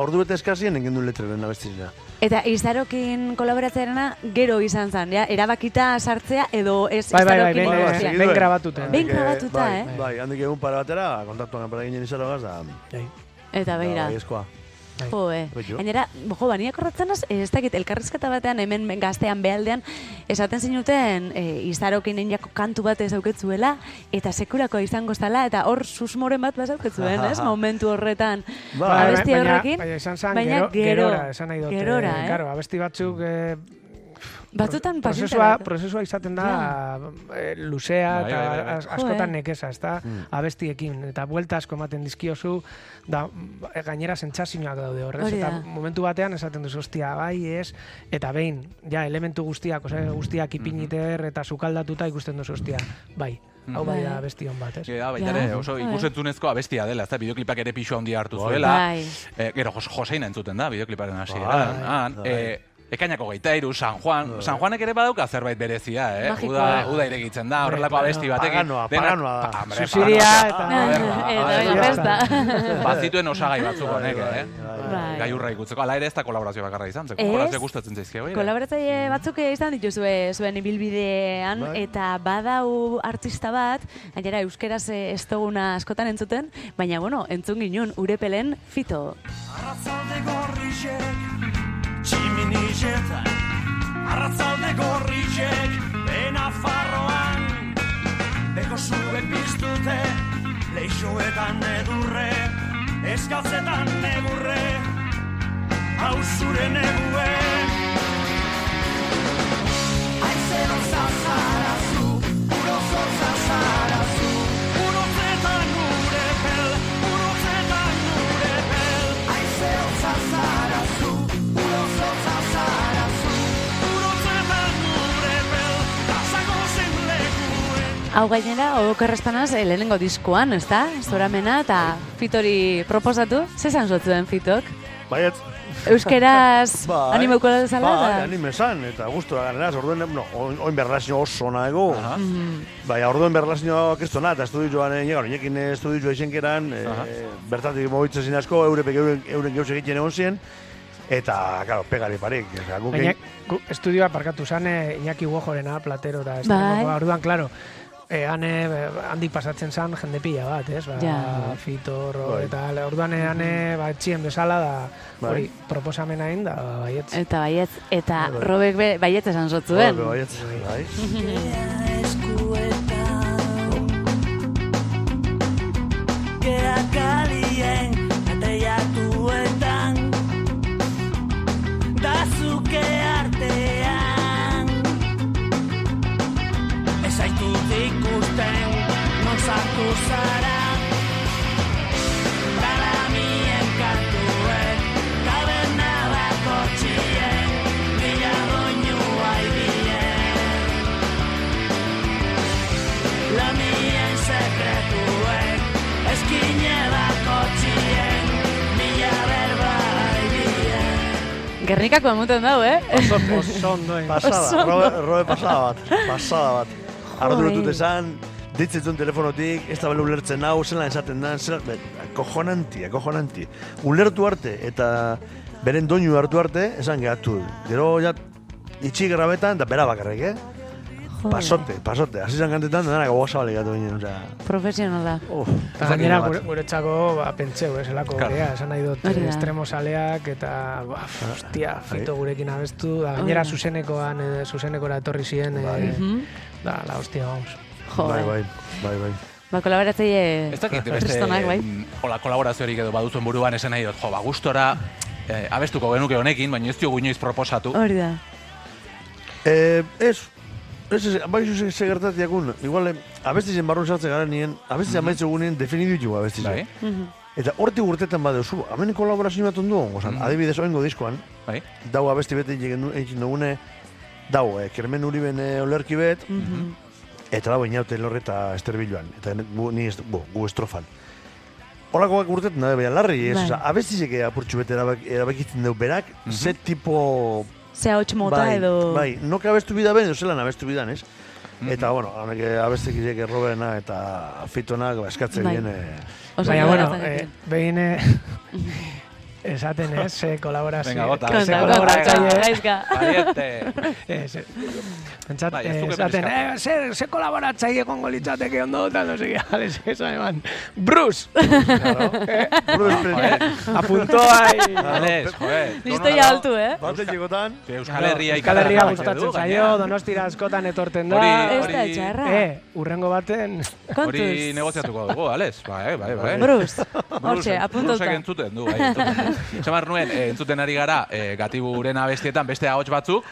Ordu bete eskazien egin duen letraren abesti zera. Eta izarokin kolaboratzearena gero izan zen, ja? Erabakita sartzea edo ez Bai, bai, bai, Izarokin ben- ba, guztia. ben- ben grabatuten. Ben grabatuta, eh. bai, eh? Bai, handik egun para batera, kontaktuan para ginen izan lagaz, da... Bai. Eta beira. Bai, eskoa. Jo, eh. Beitu. Gainera, jo, baniak horretzen az, ez dakit, elkarrizketa batean hemen gaztean behaldean, esaten zinuten e, izarokin indiako kantu bat ez dauketzuela, eta sekurako izango zala, eta hor susmoren bat bazauketzuen, ez? Momentu horretan. Bai, abesti baina- horrekin, baina izan zen, baina gero, gero, gerora, esan nahi dute. gerora, eh? Claro, abesti batzuk eh, Batzutan prozesua, pasitara. prozesua izaten da eh, luzea Bai, eta bai, bai, Hmm. bai. as- askotan Jo, eh. nekeza, ezta? Abestiekin eta buelta asko ematen dizkiozu da mm, gainera sentsazioak daude horrez Hori eta da. momentu batean esaten duzu hostia bai, ez eta behin ja elementu guztiak, osea guztiak Mhm. ipiniter eta sukaldatuta ikusten duzu hostia. Bai. Hau bai da Bai. bestion bat, ez? Ja, baita Ja. ere, oso Bai. ikusentzunezko abestia dela, ez da, bideoklipak ere pixu handia hartu zuela. Bai. Eh, gero, jos, Joseina entzuten da, bideokliparen Bai, hasieran. Han, bai. eh, Ekainako gaita iru, San Juan. San Juanek ere badauka zerbait berezia, eh? Magikoa. Uda, uda iregitzen da, horrelako Bai, abesti batekin. paganoa, Dena- paganoa da. Pa- hombre, Susiria paganoa. eta Ah, Eta bai, festa. Bazituen osagai batzuk honek, eh? Bai. Gaiurra ikutzeko, ala ere ez da kolaborazio bakarra izan, ze Ez. kolaborazio gustatzen zaizkio. ere. Kolaboratzaile batzuk izan dituzue zuen ibilbidean Mm. Bai. eta badau artista bat, gainera euskeraz eh, ez duguna askotan entzuten, baina bueno, entzun ginun urepelen fito. Arratzalde gorrizek, tximinizeta Arratzalde gorrizek, bena farroan Beko zuek biztute, leixoetan edurre Eskatzetan negurre, hau zure negue Aizero zazara zu, urozo zazara zu Urotzetan gure pel, urotzetan gure pel Aizero zazara zu, urozo zazara zu Urotzetan gure pel, dazago zen lekuen Hau gainera, okerrezpanaz, eh, lehenengo diskoan, ez da? Zoramena eta Bai. fitori proposatu, zezan zotzuen fitok? Baiet, Euskeraz Bai. animeuko zala Bai, da? anime esan, eta gustura ganeraz, orduen, no, oin, oin berlazio oso nago. Bai, orduen berlazio kestona, eta estudioan egin gara, eh, inekin estudioa izenkeran, e, bertatik mobitzen zin asko, eurepek euren, euren geuz egiten egon ziren, eta, claro, pegari parik. Osea, guk Baina, egin- gu- estudioa parkatu zane Iñaki Guajorena, platero da, Bai. estremokoa. Orduan, claro, eh, han eh, handik pasatzen zan jende pila bat, ez? Ba, Ja. Fito, ro, Bai. eta ale, orduan eh, han eh, ba, etxien bezala da, Bai. hori, proposamena egin da, ba, baietz. Eta baietz, eta robek be, baietz esan zotzuen. Bai, baiet, bai. Gea kalien ateatuetan Da zukea zara Talamien kantuek Tabernadako txien Mila doinua ibien Lamien sekretuek Eskinedako txien Mila berba ibien bai. Gernikako emoten dau, eh? Oso, oso ondoen. Pasada, Oso ondo. robe, robe pasada bat, pasada bat. Arduratu esan, ditzitzun telefonotik, ez da bale ulertzen hau, zelan esaten da, zelan, be- kojonanti, eh, kojonanti. Ulertu arte, eta beren doinu hartu arte, esan gehatu. Gero, ja, itxi grabetan, da bera bakarrik, eh? Pasote, pasote. Hasi zan kantetan, dena gogoza bale gatu ginen, osea. Profesionala. Uf, bai, Eta gainera gure, guretzako ba, pentseu, eselako Claro. gurea, esan nahi dut Hori da. estremo zaleak eta Ah. ba, f- ostia, Bai. fito gurekin abestu, da, gainera Hori da. zuzenekoan, eh, zuzenekora etorri ziren, eh, da, la hostia, vamos. Jo, Bai, bai, bai, bai. Ba, kolaboratzaile Ez dakit, beste, tristonak, bai. mm, hola kolaboraziorik edo baduzuen buruan esan nahi dut, jo, ba, gustora, eh, abestuko genuke honekin, baina ez diogu inoiz proposatu. Hori da. Eh, ez, ez, ez, bai zuze ze gertatiakun, igual, em, abestizen barrun sartzen gara nien, abestizen amaitzu gunean definidu jugu abestizen. Bai, Eta horti urtetan baduzu, hemen kolaborazio bat ondo, ozan, adibidez, oengo diskoan, bai. dau abesti bete egin du- egin dugune, dau, eh, Kermen Uriben eh, olerki bet, Mhm. eta dau inaute lorre eta esterbiluan, eta ne- gu, ni ez, bu, gu estrofan. Holakoak urtetan, nabe, baina larri, ez, Bai. oza, abestizek apurtxu bete erabak, erabakitzen deu berak, ze tipo Ze hauts mota bai, edo... Bai, nok abestu bida ben, zelan abestu bidan, ez? Eta, bueno, honek eh, abestekilek errobena eta fitonak ba, eskatzen Bai. dien... eh, Oso Baina, ondo bueno, gertatzen eh, zen. behin eh, esaten ez, ze kolaborazio. Venga, bota. ze Konta, konta, Bai, bai, kolaboratzaile- konta, bai. gaizka. Ariete. Ez, ez. Pentsat, Bai, ez eh, duke esaten, peliska. eh, ze, ze kolaboratzaile kongo litzateke ondo eta no segi, ales, esan eman, Bruce, Buru despre- apuntó ahí. Ales, Ah, joe. Listoia altu, eh? Bate txekotan... Ze Euskal Herria Euskal Herria ikaragarri gustatzen du, zaio, gainera. donostira askotan etorten da. Hori- Ez da etxarra. Eh, urrengo baten, Hori Kontuz. negoziatuko dugu, Ales. Bai, bai, bai. Bruz. Hortxe, Hortxe, apuntauta. eh, entzuten du, bai. entzuten du. Esan behar nuen, eh, entzuten ari gara eh, gatiburen abestietan beste ahots batzuk,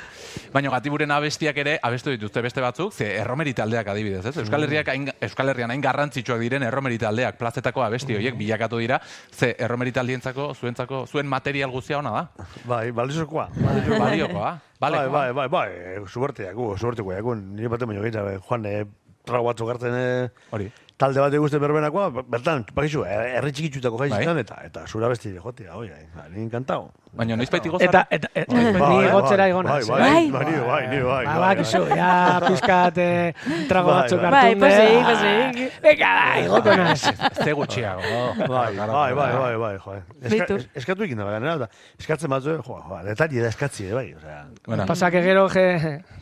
baina gatiburen abestiak ere abestu dituzte beste batzuk, ze erromeri taldeak adibidez, ez? Mm. Euskal, Herriak hain, Euskal Herrian hain garrantzitsuak diren erromeri taldeak, plazetako Mm. abesti horiek bilakatu dira, ze erromeri taldientzako, zuentzako, zuen material guztia ona da. Bai, balizokoa. Baliokoa, Bai, bale. bai, bai, bai, eh, suerteak, gu, suerteko jakun. Nire baten baino gaitza, Juan, eh, trago batzuk hartzen eh, Hori. talde bat egusten berbenakoa, ba, bertan, pakizu, herri txikitutako jaizitan, eta, eta zura besti jotea, oi, ba, ni encantado. Baina noizbait igo eta, zara? eta, eta, Bai, ni bai, gotzera bai, egon bai, naiz, bai, eh. bai, ni bai, ni bai, Ba, bai, bakizu, ja, pizkat eh, trago Bai, batzuk bai. Bai, hartu. pozik, pozik. Venga, bai, da, igoko naiz. Ze gutxiago. Bai, bai, bai, bai, bai, jo. eh. Eska, Beitu. es- eskatu egin da, ganera, da, eskatzen eh, batzu, jo, jo, detalle da eskatzi, eh, bai, osea. Bueno, Pasake gero je,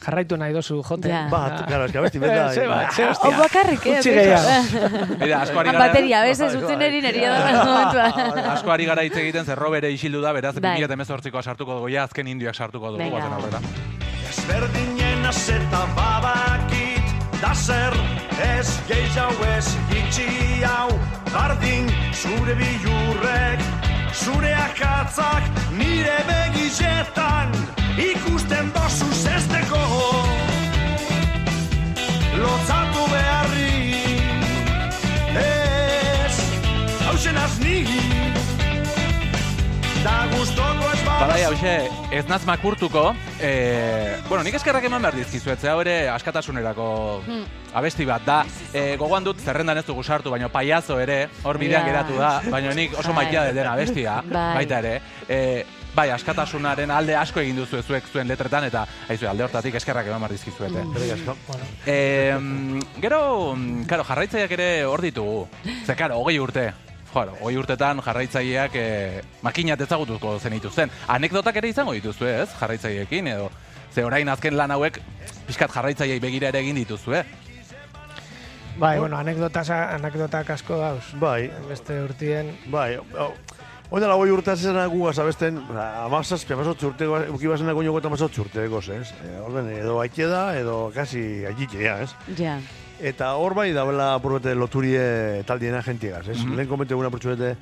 jarraitu nahi dozu jote. Ja. Bat, gara, eska besti bai. Eh, bera. ze bat, ze Hau hostia. bakarrik, eh? Utzi ez da. mira, asko ari Han gara... Bai, Bateria, bez, ez utzen erin eria da momentua. Asko ari gara hitz egiten, zer Robere isildu da, beraz, Bai. 2018koa sartuko dugu, ja, azken indioak sartuko dugu, Venga. guazen aurrera. Ezberdinen azeta babakit Da zer ez gehiago ez gitxi hau Bardin zure bilurrek Zure akatzak nire begizetan Ikusten dozu zesteko Lotzatu beharri Ez Hauzen azni Da guztoko ez Badai, babazu hause, ez naz makurtuko, e, bueno, nik eskerrak eman behar dizkizuet, ze hau ere askatasunerako Hmm. abesti bat da. E, gogoan dut zerrendan ez dugu sartu, baina paiazo ere, hor bidean Ja. geratu da, baina nik oso Bai. maitea den abestia, Bai. baita ere. E, bai, askatasunaren alde asko egin duzu zuek zuen letretan, eta aizue, alde hortatik eskerrak eman behar dizkizuete. E, mm, gero, mm, karo, jarraitzaileak ere hor ditugu. Ze, karo, hogei urte. Jaro, hogei urtetan jarraitzaileak e, makinat ezagutuko zenituzten. Anekdotak ere izango dituzue, ez? Jarraitzaileekin edo. Ze orain azken lan hauek pixkat jarraitzaileei begira ere egin dituzue. Bai, bueno, anekdotas, anekdotak asko dauz. Bai, Beste urtien, bai, hau. Oida lagoi urte azizena gu azabesten, amazazpi, amazotzi urte, ukibazen dago niogu eta amazotzi urte egoz, ez? E, Orden, edo aikeda, edo kasi aikikea, ez? Ja. Eta hor bai dauela apurbete loturie taldien agentiegaz, ez? Lehen komente guna apurbete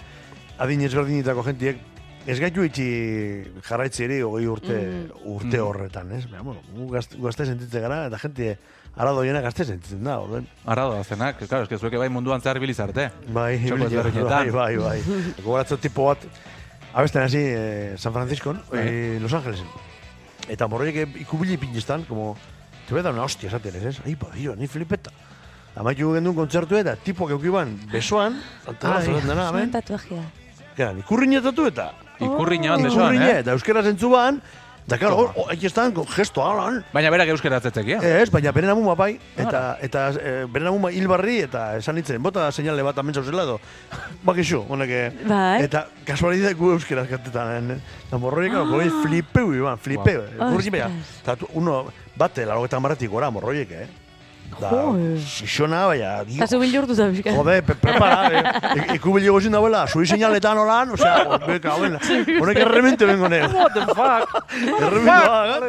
adin ezberdinetako agentiek ez gaitu itxi jarraitzieri hogei urte, urte Mhm. horretan, ez? Baina, bueno, gu gazte, gazte sentitzen gara, eta jente ara doiena gazte sentitzen da, orden. Ara doazenak, claro, eske zuek bai munduan zehar biliz arte. Bai, Txoko ibili- bai, ezberdinetan. bai, bai. Gogoratzen tipo bat, abesten hasi eh, San Franciscon, eh, Los Angelesen. Eta morroiek ikubili pinistan, como, te voy a dar una hostia esaten, ez, ez? Ai, ba, jo, ni flipeta. Amaitu gendun kontzertu eta tipo keukiban, besoan, antara, Ai. zoratzen dena, Zuen hemen. tatuajea. Gara, ikurrinetatu eta, Ikurriña bat besoan, ikurriñe, eh? eta euskera zentzu ban, eta karo, hor, hor, aquí están, con gesto, halan, Baina berak euskera atzetzekia. Ez, baina beren amuma bai, eta, eta e, beren amuma hil barri, eta esan nintzen, bota seinale bat amentsa zela edo. Bakixu, honek. eh, Bai. Eta kasualidade gu euskera kantetan. Eta morroiek, ah. goi flipeu, Iban, flipeu. Ostras. Wow. bea, eta tu- uno, bate, laro eta maratik gora morroiek, eh? Da, Jo. xixona, baina, dio, Eta zu bilurtu da bizka. Jode, pe, prepara, eh? E- Ikubil egosin dauela, sui seinaletan holan, osea, o- pues, beka, hola. Honek erremente bengo neu. What the fuck? Erremente bat,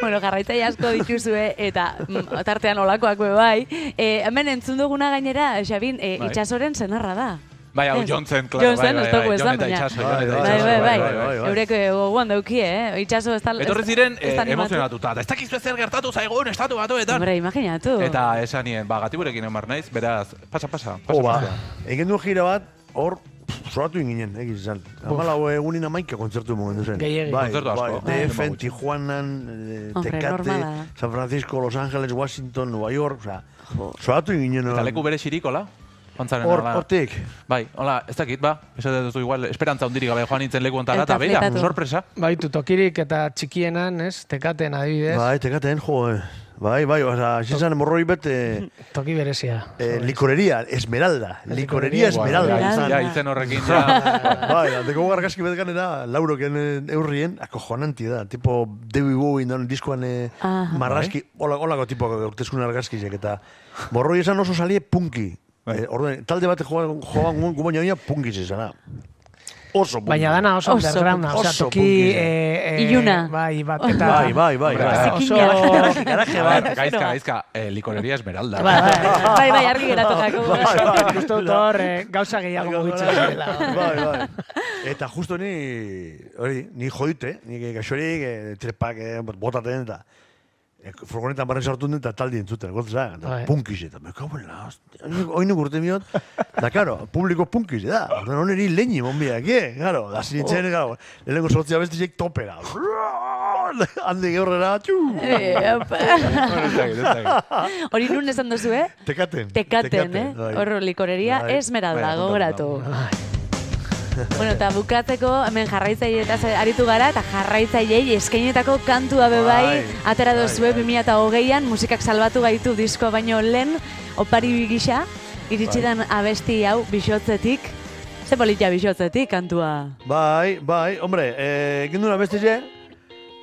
bueno, jarraitzaile asko dituzue eta mm, tartean olakoak be bai. E, hemen entzun duguna gainera, Xabin, e, Bai. itxasoren senarra da. Bai, hau Ez. Johnson, claro, bai, Johnson, bai, ez bai, dugu esan, Jon eta baina- itxaso, Bai, Jon eta bai, Bai, itxaso, bai, bai. bai, bai, bai. Eurek eh, gogoan daukie, eh? Itxaso ez tal... Etorri ziren ez eh, da animatu. emozionatuta, eta ez dakizu zer gertatu zaigun estatu batuetan. Hombre, imaginatu. Eta esan nien, ba, gatiburekin egon behar naiz, beraz, pasa, pasa. pasa, Jo, ba, pasa. egin duen jira bat, hor, pff, zoratu inginen, egiz izan. Amalau egunin amaika kontzertu momentu zen. Gehiegi. Bai, Kontzertu bai, asko. DF, Bai. Tijuanan, eh, Hombre, Tecate, normala da. San Francisco, Los Angeles, Washington, Nueva York, osea, zoratu inginen. Eta leku bere xirikola? Pantzaren Hor, nola? hortik. Bai, hola, ez dakit, ba, esaten duzu igual, esperantza hundirik gabe joan nintzen leku ontara, Eta eta beira, flipatu. sorpresa. Baitu Bai, tokirik eta txikienan, ez? Tekaten adibidez. Bai, Tecaten, jo, eh. Bai, bai, osea, xizan morroi bete Toki berezia. eh, likoreria, esmeralda. Likoreria, Likoreria esmeralda. guau, izan. Ja, izen horrekin, ja. bai, aldeko gargazki bat ganera, lauroken eh, eurrien, acojonanti da, tipo Debbie Bowie dan diskoan eh, Aha. marrazki, hola, holako tipo urtezkun argazkizek, eta borroi esan oso salie punki. Eh, orduen, talde bat joan joan gubaina oina punki zizana. Oso punki. Baina dana oso, Oso undergrounda, punki. osea, Oso toki... punki. eh, eh, Iluna. Bai, bat eta... Bai, bai, bai. bai. Oso... Zikina. Garaje A bat. ver, gaizka, gaizka, eh, likoreria esmeralda. Bai, bai. Bai, bai, argi geratu jako. Bai. Nik uste dut hor, eh, gauza gehiago mugitzen dela. Bai, bai. Eta justo ni, hori, ni joite, ni gaixorik, eh, trepak eh, botaten eta eh, furgonetan barren sartu dut eta taldi entzuten, gotz da, Bai. punkiz eta, me kago en la hostia, oinu urte miot, da, karo, publiko punkiz da, orduan honeri leñi monbiak, eh, karo, da zinitzen, karo, lehenko sortzia bestizek topera, handi geurrera, txu, Eh, opa. Ez dakit, ez dakit. Hori nun esan duzu, eh? tekaten, Tekaten, eh? bai. Horro likoreria Bai. esmeralda, Bai, gogoratu. Bueno, eta bukatzeko hemen jarraitzaile eta aritu gara eta jarraitzailei eskainetako kantua bebai Bai, atera bai, dozue bai. 2008an musikak salbatu gaitu disko baino lehen opari gisa iritsi dan abesti hau bisotzetik ze polita bisotzetik kantua Bai, bai, hombre, eh, egin duna abestize,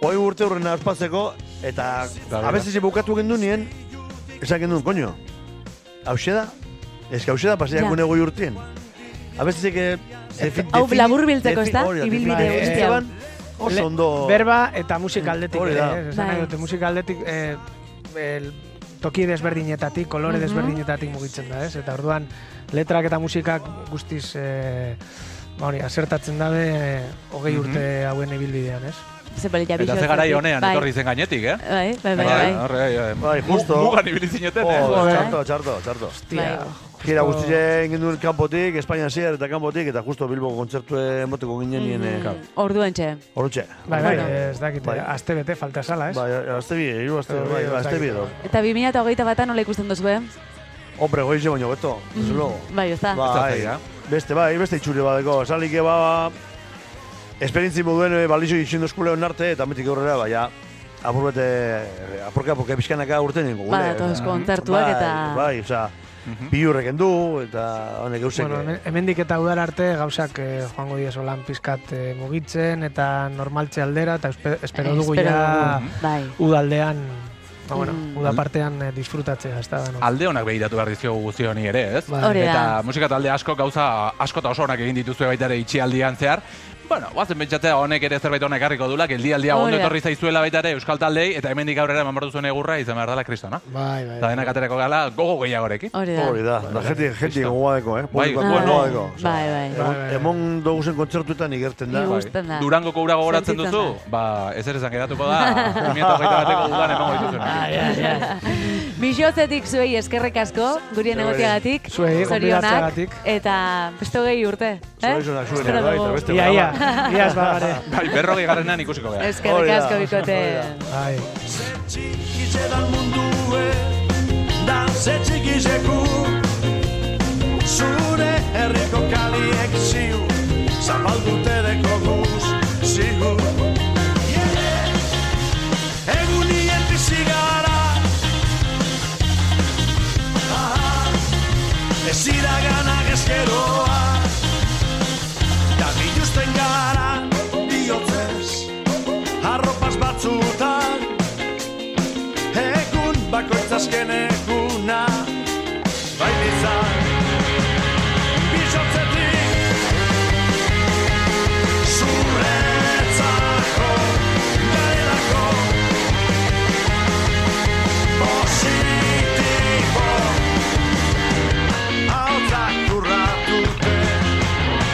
hoi urte hurrena aspatzeko, eta Da, bera. abestize bukatu egin du nien, esan egin duen, koño, hause da, eske hause da paseiak Ja. une goi urtien. Abestizek... eh, defi- hau defini- laburbiltzeko, ezta? defi- hori da, Ibilbide defini- guzti Esteban, Le- Oso ondo... Berba eta musika aldetik. Eh, Hori ere, da. ez? Esan nahi Bai. dute, musika aldetik eh, el, toki desberdinetatik, kolore desberdinetatik mugitzen da, ez? Eta orduan letrak eta musikak guztiz eh, ba hori, asertatzen dabe eh, hogei urte hauen ibilbidean, ez? ze polita Eta bisotzetik ze garai honean, bai. etorri zen gainetik, eh? bai, bai, bai, bai. horre, bai, Bai, Mu- justo. Mugan ibili zineten, eh? Oh, Joder. txarto, txarto, txarto. Tia, Bai. Gira guztize egin duen kanpotik, Espainia ziar eta kanpotik, eta justo Bilboko kontzertu emoteko ginen nien... eh, Orduan txe. Horotxe. Bai, bai, Bai, ez dakit, Bai. aste bete falta sala, ez? bai, azte bi, hiru azte, bai, bai, azte bi edo. Eta 2008 bata nola ikusten duzue? Hombre, goize baino beto, desde luego. Bai, ez da? da Bai, zaila. beste bai, beste itxuri badeko, esalik eba, esperientzi moduen eh, balizo izindu eskule hon arte, eta metik aurrera, bai, ja, apur bete, eh, apurka, apurka pixkanaka urten ningu. Ba, datoz kontzertuak eta... Bai, oza, bihurrek endu, eta honek eusek. Bueno, hemen- hemendik eta udara arte gauzak eh, joango diezo lan pizkat eh, mugitzen eta normaltze aldera eta espe- espero dugu ja Eh, dugu. Bai. udaldean, ba, bueno, Mm. uda partean eh, disfrutatzea, ez da, no? Alde honak behiratu behar dizkiogu guzti honi ere, ez? Bai. Hori da. Eta musika talde asko gauza asko eta oso onak egin dituzue baita ere itxialdian zehar, Bueno, guazen pentsatzea honek ere zerbait honek harriko dula, geldialdia Hori ondo da. etorri zaizuela baita ere Euskal Taldei, eta hemendik aurrera eman behar duzuen egurra izan behar dela kristona. Bai, bai. Eta denak aterako gala gogo gehiagorekin. Hori da. Hori da, da jeti, jeti gogoadeko, eh? Bai, Publikoak bueno. gogoadeko. Osea, Bai, bai. Emon, emon duguzen kontzertuetan igerten da. Igu- Gusten da. Bai. Durangoko ura gogoratzen Sentitzen duzu? Ba, ezer esan geratuko da, 2008 bateko udan emango dituzuna. Bixotzetik zuei eskerrik asko, guri negotiagatik, Zuei, zorionak, gonbidatzeagatik. eta besto gehi urte. Eh? Zorionak zuenean, Espero bai, dugu. eta beste- Ia, ia, ia ez bagare. Bai, berrogi garrenean ikusiko gara. Hori Eskerrik da. asko, bikote. Bai. txiki zedan mundue, da ze txiki zeku, zure herriko kaliek ziu, zapaldute deko guz, ziu. Egunien bizi gara, aha, ez iraganak ezkeroa, da biluzten gara, bihotzez, arropaz batzutan, Egun bakoitz azken eguna Bai bizan Bizotzetik Zuretzako Garelako Positibo Hautak urratute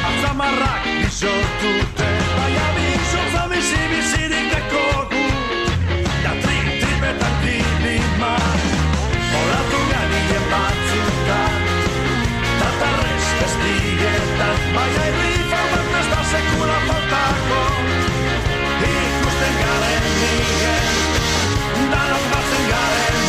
Atzamarrak bizotute Baina bizotza bizi bizirik dekogu Da trip, tripetan kibima Olatu ganien batzutan Tatarrez ez diretan Baina irrifa bat ez da sekula faltako Ikusten garen nire Danon batzen garen